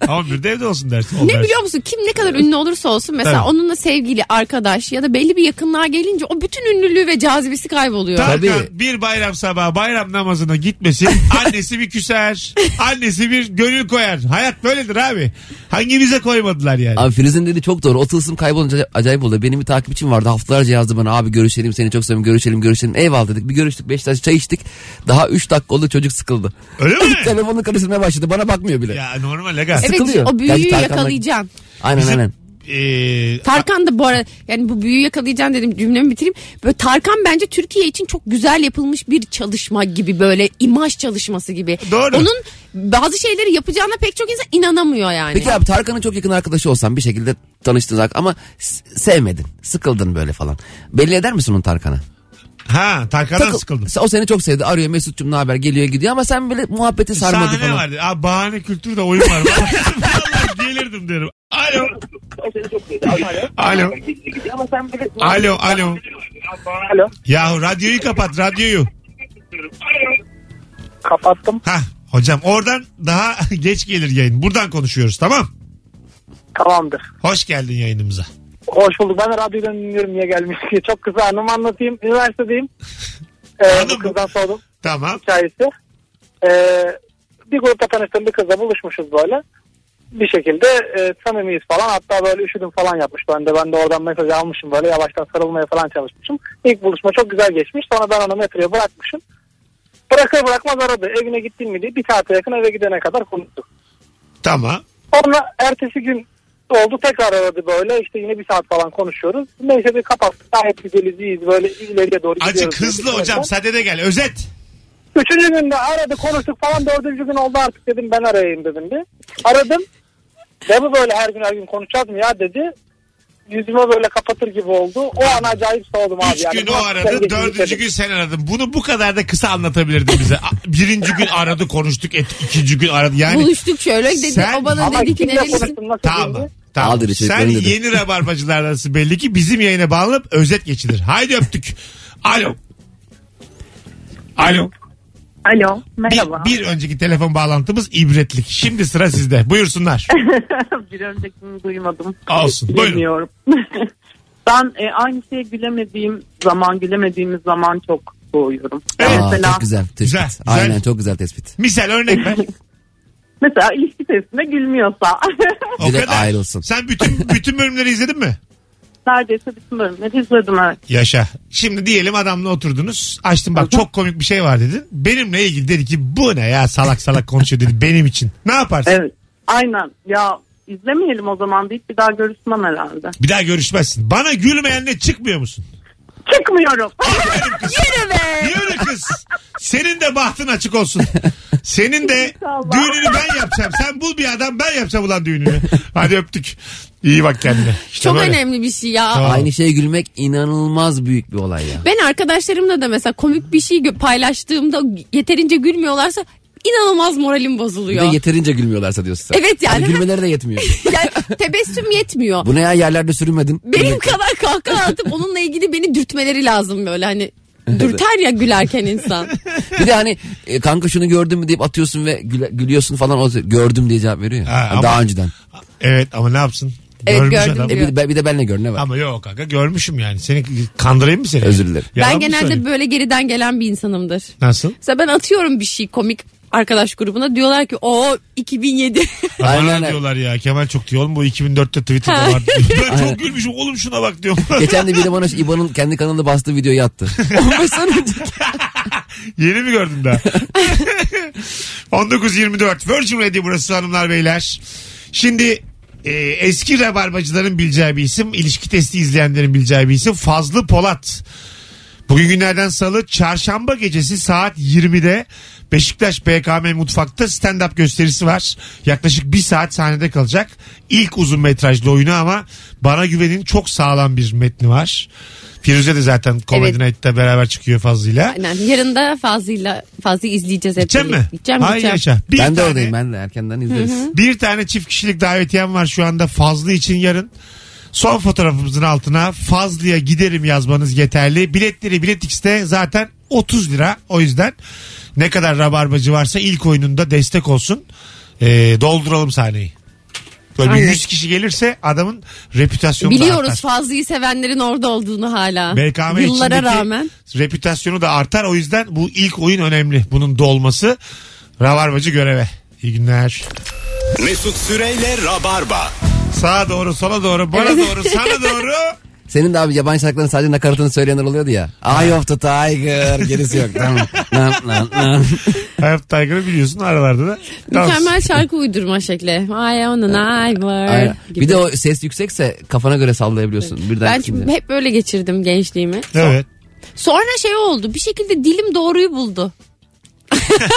Speaker 2: 11'de evde olsun dersin. O
Speaker 4: Ne
Speaker 2: dersin.
Speaker 4: biliyor musun? Kim ne kadar ünlü olursa olsun mesela
Speaker 2: Tabii.
Speaker 4: onunla sevgili, arkadaş ya da belli bir yakınlığa gelince o bütün ünlülüğü ve cazibesi kayboluyor.
Speaker 2: Tarkan
Speaker 3: Tabii.
Speaker 2: bir bayram sabahı bayram namazına gitmesin. Annesi bir küser. Annesi bir gönül koyar. Hayat böyledir abi. Hangimize koymadılar yani.
Speaker 3: Abi Firuz'un dediği çok doğru. O tılsım kaybolunca acayip oldu. Benim bir takipçim vardı. Haftalarca yazdı bana abi görüşelim seni çok seviyorum görüşelim görüşelim. Eyvallah dedik. Bir görüştük Beşiktaş çay içtik. Daha 3 dakika oldu çocuk sıkıldı.
Speaker 2: Öyle mi?
Speaker 3: Telefonun karıştırmaya başladı. Bana bakmıyor bile.
Speaker 2: Ya normal aga.
Speaker 4: evet
Speaker 3: sıkılıyor.
Speaker 4: o büyüyü
Speaker 3: Gerçi Tarkan'la-
Speaker 4: yakalayacaksın.
Speaker 3: Aynen
Speaker 2: Bizim-
Speaker 3: aynen.
Speaker 2: Ee,
Speaker 4: Tarkan da bu ara yani bu büyüyü yakalayacaksın dedim cümlemi bitireyim. Böyle Tarkan bence Türkiye için çok güzel yapılmış bir çalışma gibi böyle imaj çalışması gibi.
Speaker 2: Doğru.
Speaker 4: Onun bazı şeyleri yapacağına pek çok insan inanamıyor yani.
Speaker 3: Peki abi Tarkan'ın çok yakın arkadaşı olsan bir şekilde tanıştınız ama s- sevmedin. Sıkıldın böyle falan. Belli eder misin onu Tarkan'a?
Speaker 2: ha Tarkan'dan
Speaker 3: Takıl-
Speaker 2: sıkıldım.
Speaker 3: O seni çok sevdi. Arıyor Mesut'cum ne haber geliyor gidiyor ama sen böyle muhabbeti sarmadı
Speaker 2: Sahne
Speaker 3: falan.
Speaker 2: vardı. Aa, bahane kültürü de oyun var. Vallahi gelirdim derim. Alo. Alo. Alo. Alo.
Speaker 5: Alo.
Speaker 2: Yahu radyoyu kapat radyoyu.
Speaker 5: Kapattım.
Speaker 2: Hah hocam oradan daha geç gelir yayın. Buradan konuşuyoruz tamam.
Speaker 5: Tamamdır.
Speaker 2: Hoş geldin yayınımıza.
Speaker 5: Hoş bulduk. Ben de radyodan dinliyorum niye gelmiş diye. Çok kısa anımı anlatayım. Üniversitedeyim. Ee,
Speaker 2: Hanım.
Speaker 5: bu kızdan sordum
Speaker 2: Tamam.
Speaker 5: hikayesi. Ee, bir grupta tanıştığım bir kızla buluşmuşuz böyle. Bir şekilde e, samimiyiz falan. Hatta böyle üşüdüm falan yapmış. Ben de, ben de oradan mesaj almışım böyle. Yavaştan sarılmaya falan çalışmışım. İlk buluşma çok güzel geçmiş. Sonra ben onu metroya bırakmışım. Bırakır bırakmaz aradı. Evine gittin mi diye bir saate yakın eve gidene kadar konuştuk.
Speaker 2: Tamam.
Speaker 5: Sonra ertesi gün oldu tekrar aradı böyle işte yine bir saat falan konuşuyoruz. Neyse bir kapattık gayet güzeliz iyiyiz böyle ileriye doğru
Speaker 2: Azıcık
Speaker 5: gidiyoruz.
Speaker 2: hızlı hocam sadede gel. Özet.
Speaker 5: Üçüncü günde aradı konuştuk falan dördüncü gün oldu artık dedim ben arayayım dedim bir. Aradım Ne bu böyle her gün her gün konuşacağız mı ya dedi. Yüzüme böyle kapatır gibi oldu. O an acayip soğudum abi.
Speaker 2: Üç
Speaker 5: yani.
Speaker 2: gün o aradı, dördüncü gün sen aradın. Bunu bu kadar da kısa anlatabilirdin bize. A- Birinci gün aradı, konuştuk, et, ikinci gün aradı. Yani
Speaker 4: Buluştuk şöyle dedi.
Speaker 2: Sen-
Speaker 4: o bana
Speaker 5: Ama
Speaker 4: dedi ki
Speaker 5: kimle
Speaker 4: nerelisin?
Speaker 5: konuştum nasıl şey?
Speaker 2: Tamam.
Speaker 5: bildi?
Speaker 2: Tamam.
Speaker 3: Aldır
Speaker 2: Sen
Speaker 3: içeriklerini dedi.
Speaker 2: yeni rabarbacılardansın belli ki bizim yayına bağlanıp özet geçilir. Haydi öptük. Alo. Alo.
Speaker 7: Alo
Speaker 2: Bir,
Speaker 7: merhaba. Bir,
Speaker 2: bir önceki telefon bağlantımız ibretlik. Şimdi sıra sizde. Buyursunlar.
Speaker 7: öncekini duymadım.
Speaker 2: Olsun. Buyurun.
Speaker 7: Bilmiyorum. ben e, aynı şeye gülemediğim zaman gülemediğimiz zaman çok soğuyorum.
Speaker 2: Evet.
Speaker 7: Yani
Speaker 3: Aa,
Speaker 7: mesela,
Speaker 3: çok güzel tespit.
Speaker 2: Güzel, güzel.
Speaker 3: Aynen çok güzel tespit.
Speaker 2: Misal örnek ver.
Speaker 7: mesela ilişki testinde gülmüyorsa
Speaker 2: O
Speaker 3: Direkt
Speaker 2: kadar.
Speaker 3: ayrılsın.
Speaker 2: Sen bütün bütün bölümleri izledin mi?
Speaker 7: neredeyse bütün bölümleri izledim evet.
Speaker 2: Yaşa. Şimdi diyelim adamla oturdunuz. Açtım bak çok komik bir şey var dedin. Benimle ilgili dedi ki bu ne ya salak salak konuşuyor dedi benim için. Ne yaparsın?
Speaker 7: evet. Aynen ya izlemeyelim o zaman deyip bir daha görüşmem herhalde.
Speaker 2: Bir daha görüşmezsin. Bana gülmeyenle çıkmıyor musun?
Speaker 7: Çıkmıyorum.
Speaker 4: Yürü be.
Speaker 2: Yürü kız. Senin de bahtın açık olsun. Senin de
Speaker 7: İnşallah.
Speaker 2: düğününü ben yapacağım. Sen bul bir adam ben yapacağım ulan düğününü. Hadi öptük. İyi bak kendine. İşte
Speaker 4: Çok
Speaker 2: böyle.
Speaker 4: önemli bir şey ya.
Speaker 2: Tamam.
Speaker 3: Aynı şeye gülmek inanılmaz büyük bir olay ya.
Speaker 4: Ben arkadaşlarımla da mesela komik bir şey gö- paylaştığımda yeterince gülmüyorlarsa inanılmaz moralim
Speaker 3: Bir de
Speaker 4: bozuluyor.
Speaker 3: yeterince gülmüyorlarsa diyorsun sen.
Speaker 4: Evet yani.
Speaker 3: Hani gülmeleri de yetmiyor.
Speaker 4: yani tebessüm yetmiyor.
Speaker 3: Bu ne ya yerlerde sürünmedin.
Speaker 4: Benim
Speaker 3: Gülmek-
Speaker 4: kadar kahkaha atıp onunla ilgili beni dürtmeleri lazım böyle hani. Dürter ya gülerken insan.
Speaker 3: Bir de hani e, kanka şunu gördün mü deyip atıyorsun ve güle- gülüyorsun falan. O gördüm diye cevap veriyor ya.
Speaker 2: Ha, ama-
Speaker 3: Daha önceden.
Speaker 2: Evet ama ne yapsın?
Speaker 4: Evet,
Speaker 2: Görmüş
Speaker 4: gördüm.
Speaker 2: adam.
Speaker 3: E, bir, de- bir de benle gör ne var.
Speaker 2: Ama yok kanka görmüşüm yani. Seni kandırayım mı seni?
Speaker 3: Özür dilerim.
Speaker 2: Yalan
Speaker 4: ben
Speaker 2: mı
Speaker 4: genelde
Speaker 2: söyleyeyim?
Speaker 4: böyle geriden gelen bir insanımdır.
Speaker 2: Nasıl?
Speaker 4: Mesela ben atıyorum bir şey komik arkadaş grubuna diyorlar ki o 2007.
Speaker 2: Aynen,
Speaker 3: Aynen, aynen.
Speaker 2: diyorlar ya. Kemal çok diyor. Oğlum bu 2004'te Twitter'da
Speaker 4: Ha.
Speaker 2: vardı. Ben
Speaker 3: Aynen.
Speaker 2: çok gülmüşüm. Oğlum şuna bak diyor.
Speaker 3: Geçen de biri bana şu İbo'nun kendi kanalında bastığı videoyu attı. 15 sene önce.
Speaker 2: Yeni mi gördün daha? 19.24 Virgin Radio burası hanımlar beyler. Şimdi e, eski rabarbacıların bileceği bir isim, ilişki testi izleyenlerin bileceği bir isim Fazlı Polat. Bugün günlerden salı çarşamba gecesi saat 20'de Beşiktaş BKM Mutfak'ta stand-up gösterisi var. Yaklaşık bir saat sahnede kalacak. İlk uzun metrajlı oyunu ama Bana Güven'in çok sağlam bir metni var. Firuze de zaten Comedy
Speaker 4: Evet.
Speaker 2: Night'ta beraber çıkıyor Fazlı'yla.
Speaker 4: Aynen. Yarın da Fazlı'yla Fazlı'yı izleyeceğiz hep
Speaker 2: Gideceğim mi?
Speaker 4: birlikte. Gideceğim,
Speaker 2: Hay
Speaker 4: gideceğim.
Speaker 2: yaşa. Bir
Speaker 3: ben de
Speaker 2: tane-
Speaker 3: oradayım ben de erkenden izleriz.
Speaker 2: Bir tane çift kişilik davetiyem var şu anda Fazlı için yarın. Son fotoğrafımızın altına Fazlı'ya giderim yazmanız yeterli. Biletleri Bilet X'te zaten 30 lira. O yüzden ne kadar rabarbacı varsa ilk oyununda destek olsun. Ee, dolduralım sahneyi. Böyle bir
Speaker 4: Aynen.
Speaker 2: 100 kişi gelirse adamın repütasyonu da
Speaker 4: Biliyoruz
Speaker 2: artar.
Speaker 4: Fazlı'yı sevenlerin orada olduğunu hala.
Speaker 2: BKM
Speaker 4: Ah, Yıllara
Speaker 2: içindeki
Speaker 4: rağmen.
Speaker 2: repütasyonu da artar. O yüzden bu ilk oyun önemli. Bunun dolması Rabarbacı göreve. İyi günler.
Speaker 1: Mesut Süreyle Rabarba.
Speaker 2: Sağa doğru, sola doğru, bana doğru, sana doğru.
Speaker 3: Senin de abi yabancı şarkıların sadece nakaratını söyleyenler oluyordu ya. Eye of the Tiger gerisi yok. Tamam. Nam, nam, nam.
Speaker 2: Hayat Tiger'ı biliyorsun aralarda da. dans.
Speaker 4: Mükemmel şarkı uydurma şekli. I own an Ivor.
Speaker 3: Aynen. Bir de o ses yüksekse kafana göre sallayabiliyorsun. Birden
Speaker 4: Ben çünkü hep böyle geçirdim gençliğimi.
Speaker 2: Evet.
Speaker 4: Sonra şey oldu. Bir şekilde dilim doğruyu buldu.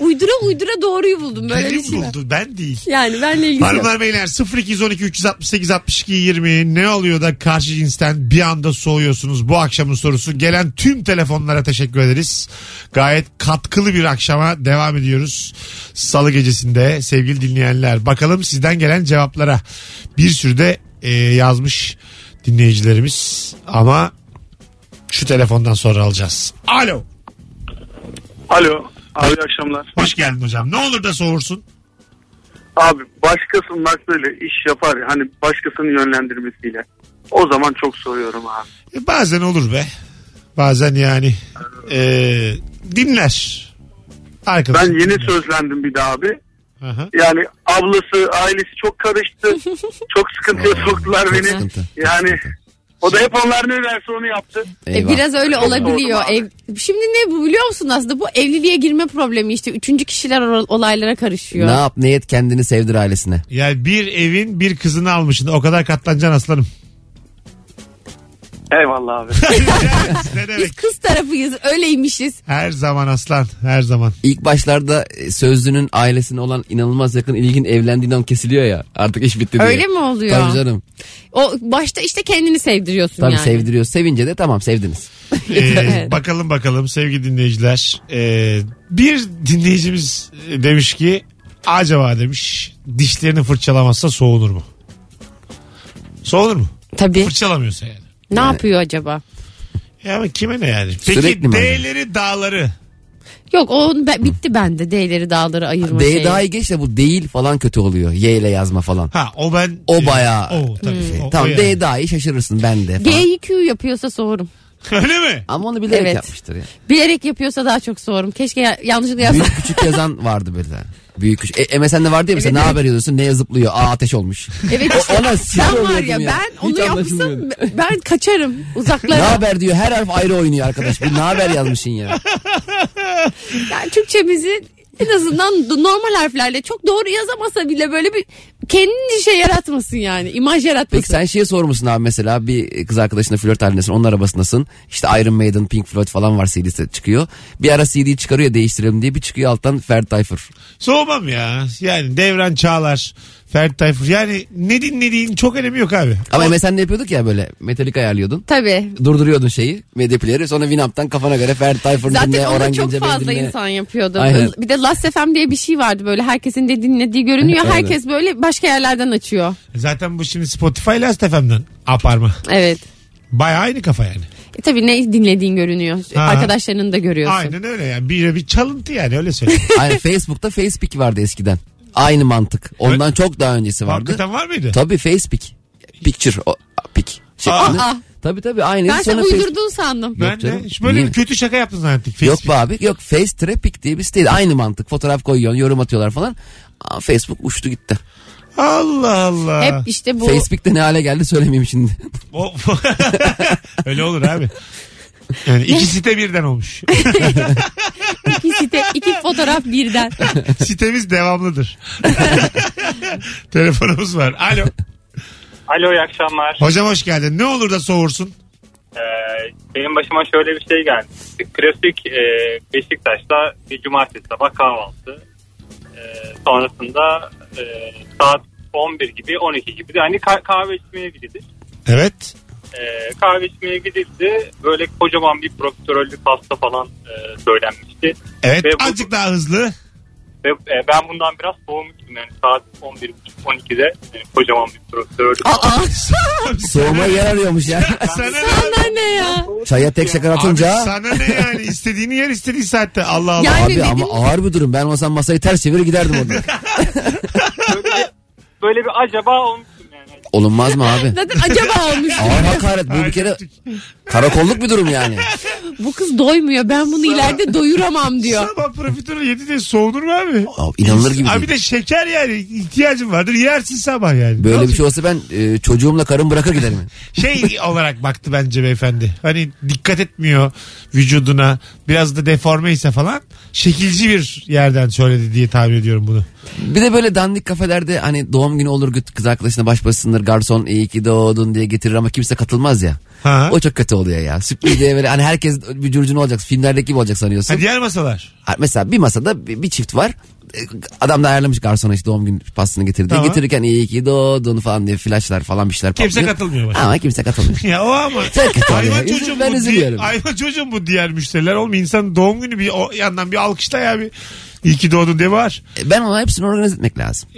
Speaker 4: uydura uydura doğruyu buldum. Böyle bir
Speaker 2: Benim
Speaker 4: şey var.
Speaker 2: buldu ben değil.
Speaker 4: Yani benle ilgisi yok.
Speaker 2: Hanımlar beyler 0212 368 62 20 ne oluyor da karşı cinsten bir anda soğuyorsunuz bu akşamın sorusu. Gelen tüm telefonlara teşekkür ederiz. Gayet katkılı bir akşama devam ediyoruz. Salı gecesinde sevgili dinleyenler bakalım sizden gelen cevaplara. Bir sürü de e, yazmış dinleyicilerimiz ama şu telefondan sonra alacağız. Alo.
Speaker 5: Alo. Abi akşamlar.
Speaker 2: Hoş geldin hocam. Ne olur da soğursun.
Speaker 5: Abi başkasının aklıyla iş yapar ya, hani başkasının yönlendirmesiyle. O zaman çok soruyorum abi.
Speaker 2: E, Bazen olur be. Bazen yani. E, dinler.
Speaker 5: Ben
Speaker 2: Arkadaşım
Speaker 5: yeni
Speaker 2: dinler.
Speaker 5: sözlendim bir daha abi.
Speaker 2: Aha.
Speaker 5: Yani ablası, ailesi çok karıştı. çok sıkıntıya soktular
Speaker 3: çok
Speaker 5: beni.
Speaker 3: sıkıntı.
Speaker 5: Yani o da hep onlar ne verse onu yaptı.
Speaker 4: E,
Speaker 3: Eyvah.
Speaker 4: biraz öyle olabiliyor.
Speaker 5: Doğru abi.
Speaker 4: Ev- Şimdi ne bu biliyor musun aslında bu evliliğe girme problemi işte üçüncü kişiler or- olaylara karışıyor.
Speaker 3: Ne yap ne et kendini sevdir ailesine.
Speaker 2: Yani bir evin bir kızını almışsın. O kadar katlanacaksın aslanım.
Speaker 5: Eyvallah abi.
Speaker 2: ne
Speaker 4: Biz
Speaker 2: demek?
Speaker 4: kız tarafıyız öyleymişiz.
Speaker 2: Her zaman aslan. Her zaman.
Speaker 3: İlk başlarda e, sözlünün ailesine olan inanılmaz yakın ilgin evlendiğinden kesiliyor ya. Artık iş bitti diye.
Speaker 4: Öyle mi oluyor?
Speaker 3: Tabii canım.
Speaker 4: O başta işte kendini sevdiriyorsun
Speaker 3: Tabii
Speaker 4: yani.
Speaker 3: sevdiriyor. Sevince de tamam sevdiniz.
Speaker 2: Ee,
Speaker 4: Evet.
Speaker 2: Bakalım bakalım sevgili dinleyiciler. Ee, bir dinleyicimiz demiş ki acaba demiş dişlerini fırçalamazsa soğunur mu? Soğunur mu?
Speaker 4: Tabii.
Speaker 2: Fırçalamıyorsa yani.
Speaker 4: Ne yapıyor acaba?
Speaker 2: Ya ama kime ne yani? Peki
Speaker 3: Sürekli mi acaba?
Speaker 2: D'leri dağları.
Speaker 4: Yok o be- bitti bende D'leri dağları ayırma
Speaker 3: D
Speaker 4: şeyi.
Speaker 3: daha iyi geç de bu değil falan kötü oluyor. Y ile yazma falan.
Speaker 2: Ha o ben. e,
Speaker 3: O bayağı-
Speaker 2: O tabii.
Speaker 3: Şey,
Speaker 2: O- o
Speaker 3: tamam
Speaker 2: yani.
Speaker 3: D daha iyi şaşırırsın ben de falan.
Speaker 4: G'yi Q yapıyorsa soğurum.
Speaker 2: Öyle mi?
Speaker 3: Ama onu bilerek
Speaker 4: Evet.
Speaker 3: yapmıştır ya.
Speaker 4: Bilerek yapıyorsa daha çok soğurum. Keşke ya- yanlışlıkla yazsam.
Speaker 3: Büyük küçük yazan vardı böyle. Büyük küçük. E, MSN'de vardı ya mesela ne haber yazıyorsun ne zıplıyor. Aa ateş olmuş.
Speaker 4: Evet
Speaker 3: O-
Speaker 4: işte
Speaker 3: ona sinir
Speaker 4: ben var
Speaker 3: oluyordum
Speaker 4: ya,
Speaker 3: ya.
Speaker 4: ben
Speaker 3: Hiç
Speaker 4: onu yapmışsam
Speaker 3: anlaşılmıyor.
Speaker 4: ben- ben kaçarım
Speaker 3: ne
Speaker 4: uzaklara.
Speaker 3: haber diyor her harf ayrı oynuyor arkadaş. Bu ne haber yazmışsın ya.
Speaker 4: yani Türkçemizi en azından d- normal harflerle çok doğru yazamasa bile böyle bir kendince şey yaratmasın yani. imaj yaratmasın.
Speaker 3: Peki sen şeye sormuşsun abi mesela bir kız arkadaşınla flört halindesin onun arabasındasın. İşte Iron Maiden, Pink Floyd falan var CD'si çıkıyor. Bir ara CD çıkarıyor değiştirelim diye bir çıkıyor alttan Ferdi Tayfur.
Speaker 2: Soğumam ya. Yani Devran Çağlar, Ferit Tayfur. Yani ne dinlediğin çok önemi yok abi.
Speaker 3: Ama MSN'de yapıyorduk ya böyle metalik ayarlıyordun.
Speaker 4: Tabii.
Speaker 3: Durduruyordun şeyi medya player'ı sonra Winamp'tan kafana göre Ferdi Tayfur'un
Speaker 4: Zaten
Speaker 3: dinle,
Speaker 4: onu
Speaker 3: Orhan
Speaker 4: çok
Speaker 3: Gencebey'i
Speaker 4: fazla
Speaker 3: dinle.
Speaker 4: insan yapıyordu.
Speaker 3: Aynen.
Speaker 4: Bir de Last FM diye bir şey vardı böyle herkesin de dinlediği görünüyor.
Speaker 3: Aynen.
Speaker 4: Herkes böyle başka yerlerden açıyor.
Speaker 2: Zaten bu şimdi Spotify Last FM'den aparma.
Speaker 4: Evet.
Speaker 2: Baya aynı kafa yani.
Speaker 4: E tabii ne dinlediğin görünüyor.
Speaker 2: Ha.
Speaker 4: Arkadaşlarının da görüyorsun.
Speaker 2: Aynen öyle yani. Bir, bir çalıntı yani öyle söyleyeyim.
Speaker 3: Aynen Facebook'ta Facebook vardı eskiden. Aynı mantık. Ondan çok daha öncesi vardı.
Speaker 2: Hakikaten var mıydı?
Speaker 3: Tabii Facebook. Picture. O, pic. Şeklinde.
Speaker 4: Aa.
Speaker 3: Tabii tabii aynı.
Speaker 4: Ben sen
Speaker 3: Sonra Face-
Speaker 4: uydurduğun sandım.
Speaker 2: ben de
Speaker 3: canım.
Speaker 2: hiç böyle
Speaker 3: Niye?
Speaker 2: kötü şaka yaptın zannettik.
Speaker 3: Yok
Speaker 2: Facebook.
Speaker 3: be abi. Yok Face Traffic diye bir siteydi. Aynı mantık. Fotoğraf koyuyorsun, yorum atıyorlar falan. Aa, Facebook uçtu gitti.
Speaker 2: Allah Allah.
Speaker 4: Hep işte bu.
Speaker 3: Facebook'te ne hale geldi söylemeyeyim şimdi.
Speaker 2: O- öyle olur abi. Yani iki site birden olmuş.
Speaker 4: iki site, iki fotoğraf birden.
Speaker 2: Sitemiz devamlıdır. Telefonumuz var. Alo.
Speaker 8: Alo iyi akşamlar.
Speaker 2: Hocam hoş geldin. Ne olur da soğursun.
Speaker 8: Ee, benim başıma şöyle bir şey geldi. Klasik e, Beşiktaş'ta bir cumartesi sabah kahvaltı. Ee, sonrasında e, saat 11 gibi 12 gibi de hani ka- kahve içmeye gidilir.
Speaker 2: Evet.
Speaker 8: Ee, kahve içmeye gidildi. Böyle kocaman bir profiterollü pasta falan e, söylenmişti.
Speaker 2: Evet.
Speaker 8: Ve bu-
Speaker 2: Azıcık daha hızlı.
Speaker 8: Ve e, ben bundan biraz soğumuştum. Yani saat 11.12'de e, kocaman bir profiterollü pasta.
Speaker 3: Soğuma yer arıyormuş ya.
Speaker 2: sana ne?
Speaker 4: Sana ne ya?
Speaker 3: Çaya tek şeker
Speaker 2: Abi
Speaker 3: atınca.
Speaker 2: sana ne yani? İstediğini yer istediği saatte. Allah Allah.
Speaker 4: Yani-
Speaker 3: Abi
Speaker 4: dedim
Speaker 3: ama
Speaker 4: ya.
Speaker 3: ağır bir durum. Ben olsam masayı ters çevirir giderdim orada.
Speaker 8: Böyle bir acaba olmuştum yani.
Speaker 3: Olunmaz mı abi?
Speaker 4: Zaten acaba olmuş.
Speaker 3: Ağır hakaret. Bu bir kere karakolluk bir durum yani.
Speaker 4: Bu kız doymuyor. Ben bunu ileride doyuramam diyor.
Speaker 2: Sabah profiterol yedi de soğunur mu abi?
Speaker 3: Abi inanılır gibi
Speaker 2: Abi
Speaker 3: değil.
Speaker 2: de şeker yani ihtiyacın vardır yersin sabah yani. Ne
Speaker 3: Böyle bir
Speaker 2: olacak?
Speaker 3: şey olsa ben e, çocuğumla karım bırakır giderim.
Speaker 2: Şey olarak baktı bence beyefendi. Hani dikkat etmiyor vücuduna biraz da deforme ise falan şekilci bir yerden söyledi diye tahmin ediyorum bunu.
Speaker 3: Bir de böyle dandik kafelerde hani doğum günü olur kız arkadaşına baş başasındır garson iyi ki doğdun diye getirir ama kimse katılmaz ya.
Speaker 2: Ha.
Speaker 3: O çok kötü oluyor ya. Sürpriz diye böyle hani herkes bir curcun olacak filmlerdeki gibi olacak sanıyorsun.
Speaker 2: Ha, diğer masalar.
Speaker 3: Ha, Mesela bir masada bir, bir çift var. E, Adam da ayarlamış garsona işte doğum günü pastasını getirdi.
Speaker 2: Tamam.
Speaker 3: Getirirken iyi ki doğdun falan diye flaşlar falan bir şeyler patlıyor.
Speaker 2: Kimse katılmıyor başta.
Speaker 3: Ama kimse katılmıyor.
Speaker 2: Ya o ama.
Speaker 3: Çok kötü
Speaker 2: Hayvan
Speaker 3: oluyor.
Speaker 2: çocuğum
Speaker 3: Ben
Speaker 2: bu. Diye,
Speaker 3: üzülüyorum.
Speaker 2: hayvan çocuğum bu diğer müşteriler oğlum insan doğum günü bir o yandan bir alkışla ya bir. İyi ki doğdun diye var.
Speaker 3: E, Ben ona hepsini organize etmek lazım.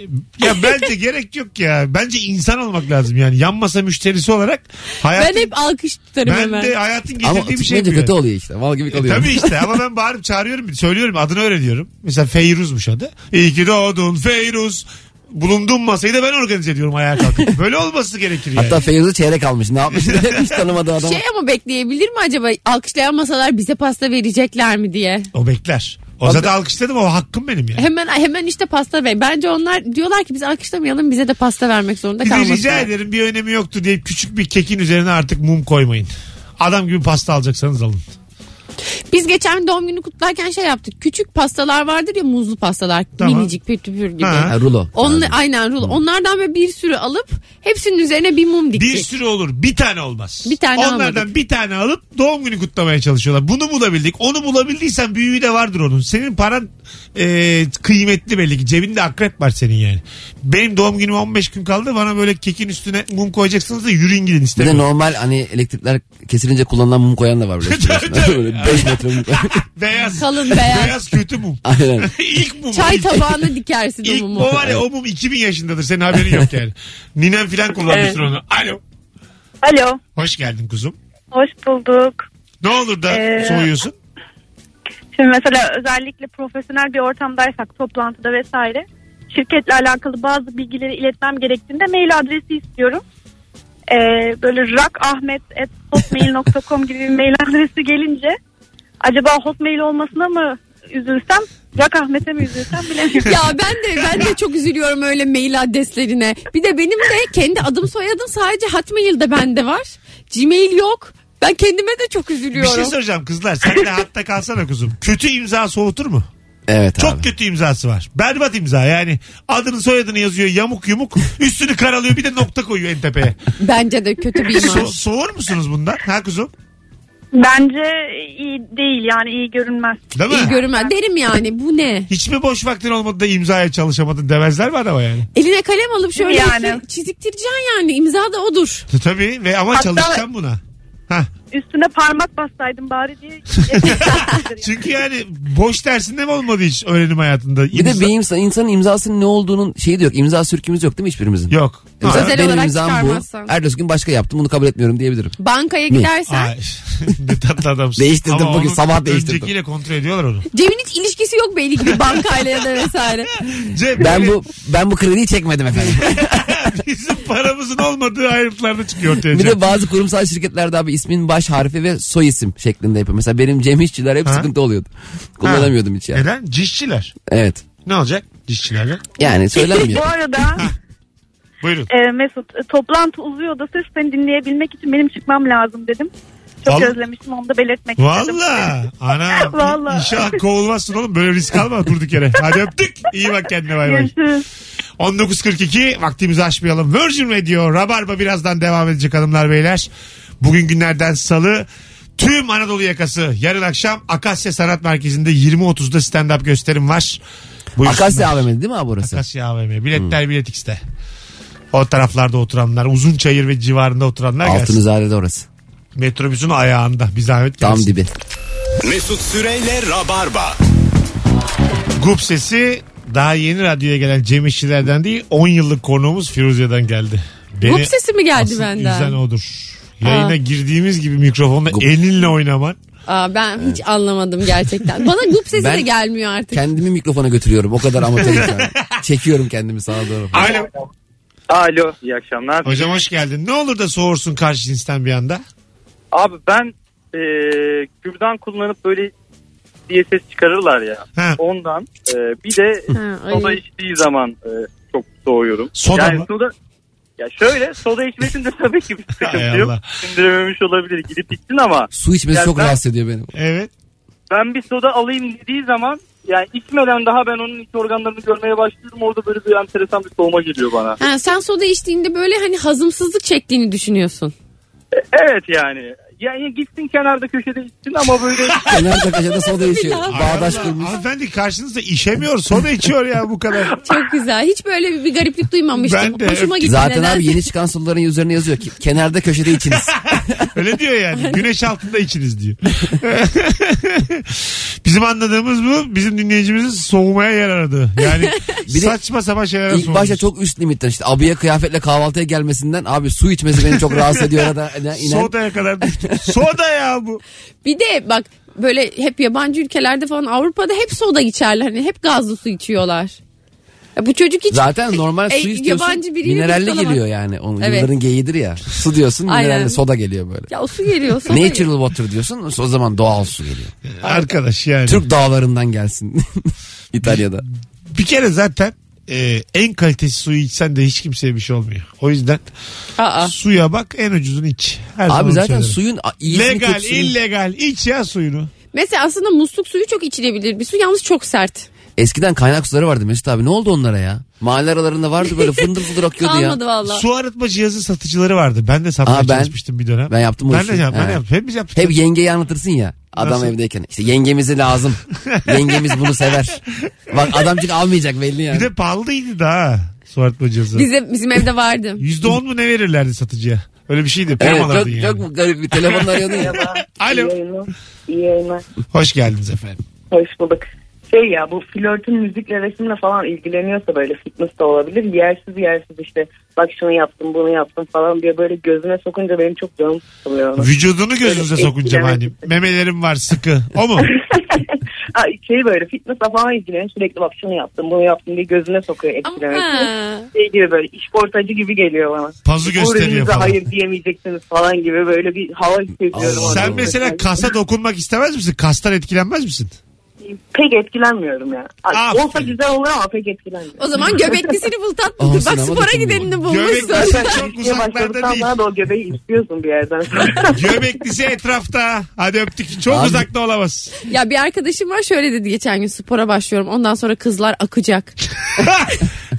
Speaker 2: Ya bence gerek yok ya. Bence insan olmak lazım yani. Yan masa müşterisi olarak hayatın,
Speaker 4: Ben hep alkış tutarım
Speaker 2: ben
Speaker 4: hemen.
Speaker 2: de hayatın
Speaker 3: Ama
Speaker 2: getirdiği bir şey
Speaker 3: tutmayınca
Speaker 2: bu. yani.
Speaker 3: kötü oluyor işte. Mal gibi
Speaker 2: E,
Speaker 3: kalıyor.
Speaker 2: tabii işte ama ben bağırıp çağırıyorum, söylüyorum, adını öğreniyorum. Mesela Feyruz'muş adı. İyi ki doğdun Feyruz. Bulunduğum masayı da ben organize ediyorum ayağa kalkıp. Böyle olması gerekir yani.
Speaker 3: Hatta Feyyaz'ı çeyrek almış. Ne yapmış? Hiç tanımadığı adam.
Speaker 4: Şey ama bekleyebilir mi acaba? Alkışlayan masalar bize pasta verecekler mi diye.
Speaker 2: O bekler. O zaten alkışladım o hakkım benim yani.
Speaker 4: Hemen hemen işte pasta ver. Bence onlar diyorlar ki biz alkışlamayalım bize de pasta vermek zorunda
Speaker 2: Bir de
Speaker 4: kalmasınlar.
Speaker 2: rica ederim bir önemi yoktu diye küçük bir kekin üzerine artık mum koymayın. Adam gibi pasta alacaksanız alın.
Speaker 4: Biz geçen doğum günü kutlarken şey yaptık. Küçük pastalar vardır ya muzlu pastalar.
Speaker 2: Tamam.
Speaker 4: Minicik pür pür gibi.
Speaker 2: Ha.
Speaker 3: Ha, rulo.
Speaker 4: Onun, aynen rulo. Onlardan böyle bir sürü alıp hepsinin üzerine bir mum diktik.
Speaker 2: Bir sürü olur. Bir tane olmaz.
Speaker 4: Bir tane
Speaker 2: Onlardan
Speaker 4: almadık.
Speaker 2: bir tane alıp doğum günü kutlamaya çalışıyorlar. Bunu bulabildik. Onu bulabildiysen büyüğü de vardır onun. Senin paran e, kıymetli belli ki. Cebinde akrep var senin yani. Benim doğum günüme 15 gün kaldı. Bana böyle kekin üstüne mum koyacaksınız da yürüyün gidin
Speaker 3: Bir de
Speaker 2: istemiyorum.
Speaker 3: normal hani elektrikler kesilince kullanılan mum koyan da var böyle.
Speaker 2: Tabii, tabii.
Speaker 3: böyle 5 metre mum koyan.
Speaker 2: Beyaz.
Speaker 4: Kalın beyaz.
Speaker 2: Beyaz kötü mum.
Speaker 3: Aynen.
Speaker 2: İlk mum.
Speaker 4: Çay
Speaker 2: İlk-
Speaker 4: tabağına dikersin
Speaker 2: İlk
Speaker 4: o mumu.
Speaker 2: o var ya o mum 2000 yaşındadır. Senin haberin yok yani. Ninem filan kullanmıştır onu. Alo.
Speaker 9: Alo.
Speaker 2: Hoş geldin kuzum.
Speaker 9: Hoş bulduk.
Speaker 2: Ne olur da
Speaker 9: Ee,
Speaker 2: soğuyorsun.
Speaker 9: Şimdi mesela özellikle profesyonel bir ortamdaysak toplantıda vesaire şirketle alakalı bazı bilgileri iletmem gerektiğinde mail adresi istiyorum. Ee, böyle rakahmet.hotmail.com gibi bir mail adresi gelince acaba hotmail olmasına mı üzülsem rakahmet'e mi üzülsem bilemiyorum.
Speaker 4: Ya ben de ben de çok üzülüyorum öyle mail adreslerine. Bir de benim de kendi adım soyadım sadece Hotmail'de bende var. Gmail yok. Ben kendime de çok
Speaker 2: Bir şey
Speaker 4: üzülüyorum.
Speaker 2: soracağım kızlar. Sen de hatta kalsana kuzum. Kötü imza soğutur mu?
Speaker 3: Evet
Speaker 2: Çok
Speaker 3: abi.
Speaker 2: kötü imzası var. Berbat imza yani. Adını soyadını yazıyor yamuk yumuk. Üstünü karalıyor bir de nokta koyuyor en tepeye.
Speaker 4: Bence de kötü bir
Speaker 2: So-
Speaker 4: imaj.
Speaker 2: soğur musunuz bundan? Ha kuzum?
Speaker 9: Bence iyi değil yani iyi görünmez.
Speaker 2: Değil mi?
Speaker 4: İyi görünmez. Derim yani bu ne?
Speaker 2: Hiç mi boş vaktin olmadı da imzaya çalışamadın demezler mi adama yani?
Speaker 4: Eline kalem alıp şöyle
Speaker 9: Yani.
Speaker 4: çiziktireceksin yani. İmza da odur.
Speaker 2: T- Tabii ve ama
Speaker 9: Hatta-
Speaker 2: çalışacaksın buna. Hah.
Speaker 9: Üstüne parmak bassaydım bari diye.
Speaker 2: Çünkü yani boş dersinde mi olmadı hiç öğrenim hayatında?
Speaker 3: Bir de
Speaker 2: İmza-
Speaker 3: bir insan, insanın imzasının ne olduğunun şeyi de yok. İmza sürkümüz yok değil mi hiçbirimizin?
Speaker 2: Yok.
Speaker 3: Mesela
Speaker 2: Ha.
Speaker 4: Özel
Speaker 3: benim
Speaker 4: olarak
Speaker 3: imzam bu.
Speaker 4: çıkarmazsan.
Speaker 3: Ertesi gün başka yaptım bunu kabul etmiyorum diyebilirim. Ne?
Speaker 4: Bankaya gidersen
Speaker 2: Ay, ne tatlı adamsın.
Speaker 3: Değiştirdim bugün,
Speaker 2: onun
Speaker 3: sabah değiştirdim.
Speaker 2: Öncekiyle kontrol ediyorlar onu.
Speaker 4: Cem'in hiç ilişkisi yok belli ki bir bankayla ya da vesaire.
Speaker 2: Cem,
Speaker 3: Ben
Speaker 2: böyle
Speaker 3: bu ben bu krediyi çekmedim efendim.
Speaker 2: bizim paramızın olmadığı ayrıntılarda çıkıyor ortaya.
Speaker 3: bir
Speaker 2: Cem.
Speaker 3: de bazı kurumsal şirketlerde abi ismin baş harfi ve soy isim şeklinde yapıyor. Mesela benim Cem İşçiler hep
Speaker 2: Ha?
Speaker 3: sıkıntı oluyordu. Kullanamıyordum hiç yani.
Speaker 2: Neden? Cişçiler.
Speaker 3: Evet.
Speaker 2: Ne olacak? Cişçilerle.
Speaker 3: Yani söylenmiyor.
Speaker 9: Bu arada
Speaker 2: Buyurun.
Speaker 9: Ee, Mesut e, toplantı uzuyor da sırf seni dinleyebilmek için benim çıkmam lazım dedim. Çok
Speaker 2: Vallahi-
Speaker 9: özlemiştim onu da belirtmek istedim.
Speaker 2: Valla. Ana.
Speaker 9: Vallahi.
Speaker 2: İnşallah kovulmazsın oğlum. Böyle risk alma durduk yere. Hadi öptük. İyi bak kendine bay bay.
Speaker 9: Görüşürüz.
Speaker 2: 19.42 vaktimizi aşmayalım. Virgin Radio Rabarba birazdan devam edecek hanımlar beyler. Bugün günlerden salı tüm Anadolu yakası yarın akşam Akasya Sanat Merkezi'nde 20.30'da stand-up gösterim var. Buyursunlar.
Speaker 3: Akasya AVM'di değil mi abi orası?
Speaker 2: Akasya AVM. Biletler Bilet X'te. O taraflarda oturanlar, Uzunçayır ve civarında oturanlar gelsin.
Speaker 3: Altınizade'de orası.
Speaker 2: Metrobüsün ayağında bir zahmet
Speaker 3: Tam
Speaker 2: gelsin.
Speaker 3: dibi.
Speaker 1: Mesut Süreyle Rabarba.
Speaker 2: Gup sesi daha yeni radyoya gelen Cem İşçilerden değil 10 yıllık konuğumuz Firuze'den geldi. Beni
Speaker 4: Grup sesi mi geldi
Speaker 2: asıl üzen
Speaker 4: benden?
Speaker 2: odur. Yayına
Speaker 4: Aa.
Speaker 2: girdiğimiz gibi mikrofonla elinle oynaman.
Speaker 4: Aa, ben hiç anlamadım gerçekten. Bana grup sesi
Speaker 3: Ben-
Speaker 4: de gelmiyor artık.
Speaker 3: Kendimi mikrofona götürüyorum. O kadar amatörüm yani. Çekiyorum kendimi sağa doğru.
Speaker 2: Alo.
Speaker 5: Alo iyi akşamlar.
Speaker 2: Hocam hoş geldin. Ne olur da soğursun karşı cinsten bir anda.
Speaker 5: Abi ben e, kürdan kullanıp böyle diye ses çıkarırlar ya.
Speaker 2: Ha.
Speaker 5: Ondan e, bir de
Speaker 4: Ha, ay.
Speaker 5: soda içtiği zaman e, çok soğuyorum.
Speaker 2: Soda
Speaker 5: yani
Speaker 2: mı?
Speaker 5: soda ya şöyle soda içmesinde tabii ki bir
Speaker 2: Hay
Speaker 5: sıkıntı yok.
Speaker 2: Allah.
Speaker 5: Sindirememiş olabilir. Gidip içtin ama
Speaker 3: Su içmesi
Speaker 5: Ya
Speaker 3: çok
Speaker 5: ben-
Speaker 3: rahatsız ediyor beni.
Speaker 2: Evet.
Speaker 5: ben bir soda alayım dediği zaman yani içmeden daha ben onun iç organlarını görmeye başlıyorum. Orada böyle bir enteresan bir soğuma geliyor bana.
Speaker 4: Ha, sen soda içtiğinde böyle hani hazımsızlık çektiğini düşünüyorsun.
Speaker 5: Evet yani. Yani gitsin kenarda köşede içsin ama böyle
Speaker 3: Kenarda kaşada soda içiyor.
Speaker 4: laf?
Speaker 3: Bağdaş
Speaker 2: Allah,
Speaker 3: kurmuş.
Speaker 2: Hanımefendi karşınızda işemiyor. Soda içiyor ya bu kadar.
Speaker 4: Çok güzel. Hiç böyle bir, bir gariplik duymamıştım.
Speaker 2: Ben de.
Speaker 4: Hoşuma gitti.
Speaker 3: Zaten
Speaker 4: nedense.
Speaker 3: abi yeni çıkan suların üzerine yazıyor ki kenarda köşede içiniz.
Speaker 2: Öyle diyor yani. Güneş altında içiniz diyor. Bizim anladığımız bu. Bizim dinleyicimizin soğumaya yer aradı. Yani
Speaker 3: de
Speaker 2: saçma sapan şeyler
Speaker 3: İlk başta çok üst limitten işte abiye kıyafetle kahvaltıya gelmesinden abi su içmesi beni çok rahatsız ediyor arada inen. inen.
Speaker 2: Sodaya kadar düştük. Soda ya bu.
Speaker 4: Bir de bak böyle hep yabancı ülkelerde falan Avrupa'da hep soda içerler. Hani hep gazlı su içiyorlar. Ya bu çocuk hiç
Speaker 3: Zaten normal
Speaker 4: E,
Speaker 3: su istiyorsun
Speaker 4: yabancı biriyle
Speaker 3: mineralli
Speaker 4: birlikte
Speaker 3: geliyor yani. Onun
Speaker 4: Evet.
Speaker 3: Yılların geyidir ya. Su diyorsun
Speaker 4: Aynen.
Speaker 3: mineralli soda geliyor böyle.
Speaker 4: ya o su geliyor. soda geliyor.
Speaker 3: Natural water diyorsun o zaman doğal su geliyor.
Speaker 2: Arkadaş yani.
Speaker 3: Türk dağlarından gelsin. İtalya'da.
Speaker 2: Bir kere zaten e, en kalitesi suyu içsen de hiç kimseye bir şey olmuyor. O yüzden
Speaker 4: Aa.
Speaker 2: suya bak en ucuzunu iç. Her zaman
Speaker 3: Ah. Abi zaten
Speaker 2: söylerim.
Speaker 3: suyun a- iyisini
Speaker 2: Legal,
Speaker 3: kötüsünü-
Speaker 2: illegal. iç ya suyunu.
Speaker 4: Mesela aslında musluk suyu çok içilebilir bir su yalnız çok sert.
Speaker 3: Eskiden kaynak suları vardı Mesut abi. Ne oldu onlara ya? Mahalle aralarında vardı böyle fındır fındır akıyordu ya.
Speaker 4: Kalmadı valla.
Speaker 2: Su arıtma cihazı satıcıları vardı. Ben de satmaya
Speaker 3: Aa, ben-
Speaker 2: çalışmıştım bir dönem.
Speaker 3: Ben yaptım o
Speaker 2: ben
Speaker 3: işi.
Speaker 2: de yaptım. Ben de
Speaker 3: He.
Speaker 2: yaptım. Hepimiz yaptık.
Speaker 3: Hep yengeyi anlatırsın ya. Adam
Speaker 2: Nasıl?
Speaker 3: evdeyken. İşte yengemize lazım. Yengemiz bunu sever. Bak adamcık almayacak belli yani.
Speaker 2: Bir de pahalıydı daha su arıtma cihazı.
Speaker 4: Bize, bizim evde vardı.
Speaker 2: Yüzde on mu ne verirlerdi satıcıya? Öyle bir şeydi. Prim
Speaker 3: Evet,
Speaker 2: alırdın
Speaker 3: çok,
Speaker 2: yani.
Speaker 3: çok mu garip bir telefonla arıyordun ya.
Speaker 2: Alo.
Speaker 7: İyi yayınlar. İyi yayınlar.
Speaker 2: Hoş geldiniz efendim.
Speaker 7: Hoş bulduk. Şey ya bu flörtün müzikle resimle falan ilgileniyorsa böyle fitness de olabilir. Yersiz yersiz işte bak şunu yaptım bunu yaptım falan diye böyle gözüne sokunca benim çok canım sıkılıyor. ona.
Speaker 2: Vücudunu gözünüze
Speaker 7: Böyle
Speaker 2: sokunca
Speaker 7: etkilemek-
Speaker 2: hani memelerim var sıkı. O mu?
Speaker 7: Ay, şey böyle fitnessle falan ilgilenen sürekli bak şunu yaptım bunu yaptım diye gözüne sokuyor etkilemek. için.
Speaker 4: Ama-
Speaker 7: Şey gibi böyle işportacı gibi geliyor bana.
Speaker 2: Pazı gösteriyor
Speaker 7: Ürününüze
Speaker 2: falan.
Speaker 7: hayır diyemeyeceksiniz falan gibi böyle bir hava hissediyorum.
Speaker 3: Allah.
Speaker 2: Sen
Speaker 7: orada.
Speaker 2: mesela kasa dokunmak istemez misin? Kastan etkilenmez misin?
Speaker 7: Pek etkilenmiyorum ya. Ay,
Speaker 2: Aferin.
Speaker 7: Olsa güzel olur ama pek etkilenmiyorum.
Speaker 4: O zaman göbeklisini bul
Speaker 3: Aa,
Speaker 4: tatlıdır. Bak
Speaker 3: sinemada
Speaker 4: spora
Speaker 3: kim
Speaker 4: gidenini
Speaker 2: Göbekli
Speaker 4: bulmuşsun.
Speaker 2: sen çok
Speaker 7: İlişkiye
Speaker 2: uzaklarda
Speaker 7: başladıktan
Speaker 2: değil.
Speaker 7: sonra da o göbeği istiyorsun bir yerden sonra.
Speaker 2: Göbeklisi etrafta. Hadi öptük. Çok
Speaker 3: Abi-
Speaker 2: uzakta olamaz.
Speaker 4: ya bir arkadaşım var şöyle dedi geçen gün spora başlıyorum. Ondan sonra kızlar akacak.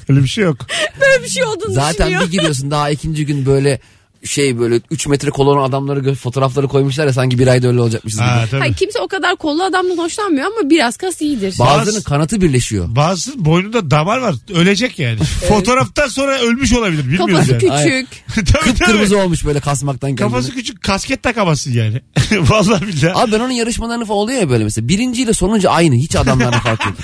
Speaker 2: Öyle bir şey yok.
Speaker 4: Böyle bir şey olduğunu
Speaker 3: Zaten
Speaker 4: düşünüyor.
Speaker 3: bir giriyorsun daha ikinci gün böyle şey böyle 3 metre kolon adamları gö- fotoğrafları koymuşlar ya sanki bir ayda öyle olacakmışız gibi.
Speaker 2: Ha, tabii.
Speaker 4: Hayır, kimse o kadar kollu adamdan hoşlanmıyor ama biraz kas iyidir.
Speaker 3: Bazılarının
Speaker 2: Bazı-
Speaker 3: kanatı birleşiyor.
Speaker 2: Bazı boynunda damar var. Ölecek yani. Fotoğraftan sonra ölmüş olabilir. Bilmiyoruz
Speaker 4: Kafası
Speaker 2: yani.
Speaker 4: küçük.
Speaker 3: Aynen.
Speaker 2: tabii, tabii.
Speaker 3: Kıpkırmızı olmuş böyle kasmaktan kendini.
Speaker 2: Kafası küçük kasket takamazsın yani. Vallahi billahi.
Speaker 3: Abi ben onun yarışmalarını falan oluyor ya böyle mesela. Birinciyle sonuncu aynı. Hiç adamların farkı yok.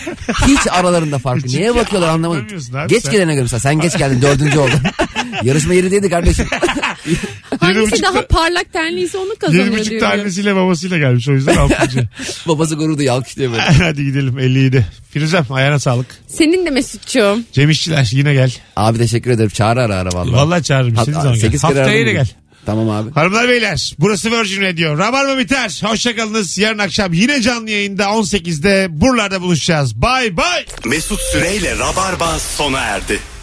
Speaker 3: Hiç aralarında farkı.
Speaker 2: Ciddi
Speaker 3: Neye bakıyorlar anlamadım.
Speaker 2: anlamıyorsun abi
Speaker 3: Geç
Speaker 2: sen.
Speaker 3: gelene göre mesela. Sen geç geldin dördüncü oldun. Yarışma yerindeydi kardeşim.
Speaker 4: Hangisi
Speaker 2: buçukta-
Speaker 4: daha parlak tenliyse onu
Speaker 2: Yedi
Speaker 4: kazanıyor
Speaker 2: buçukta
Speaker 4: diyor.
Speaker 2: annesiyle babasıyla gelmiş o yüzden altıncı.
Speaker 3: Babası gurur duyuyor alkışlıyor böyle.
Speaker 2: Hadi gidelim 57. Firuzem ayağına sağlık.
Speaker 4: Senin de Mesut'cuğum.
Speaker 2: Cem İşçiler yine gel.
Speaker 3: Abi teşekkür ederim. Çağrı ara ara vallahi.
Speaker 2: Vallahi çağırırım.
Speaker 3: Hat-
Speaker 2: istediğin zaman gel.
Speaker 3: sekiz kere
Speaker 2: Haftaya
Speaker 3: aradım
Speaker 2: yine
Speaker 3: bugün.
Speaker 2: gel.
Speaker 3: Tamam abi.
Speaker 2: Hanımlar beyler burası Virgin Radio. Rabarba biter. Hoşçakalınız. Yarın akşam yine canlı yayında 18'de buralarda buluşacağız. Bay bay.
Speaker 1: Mesut Süreyle Rabarba sona erdi.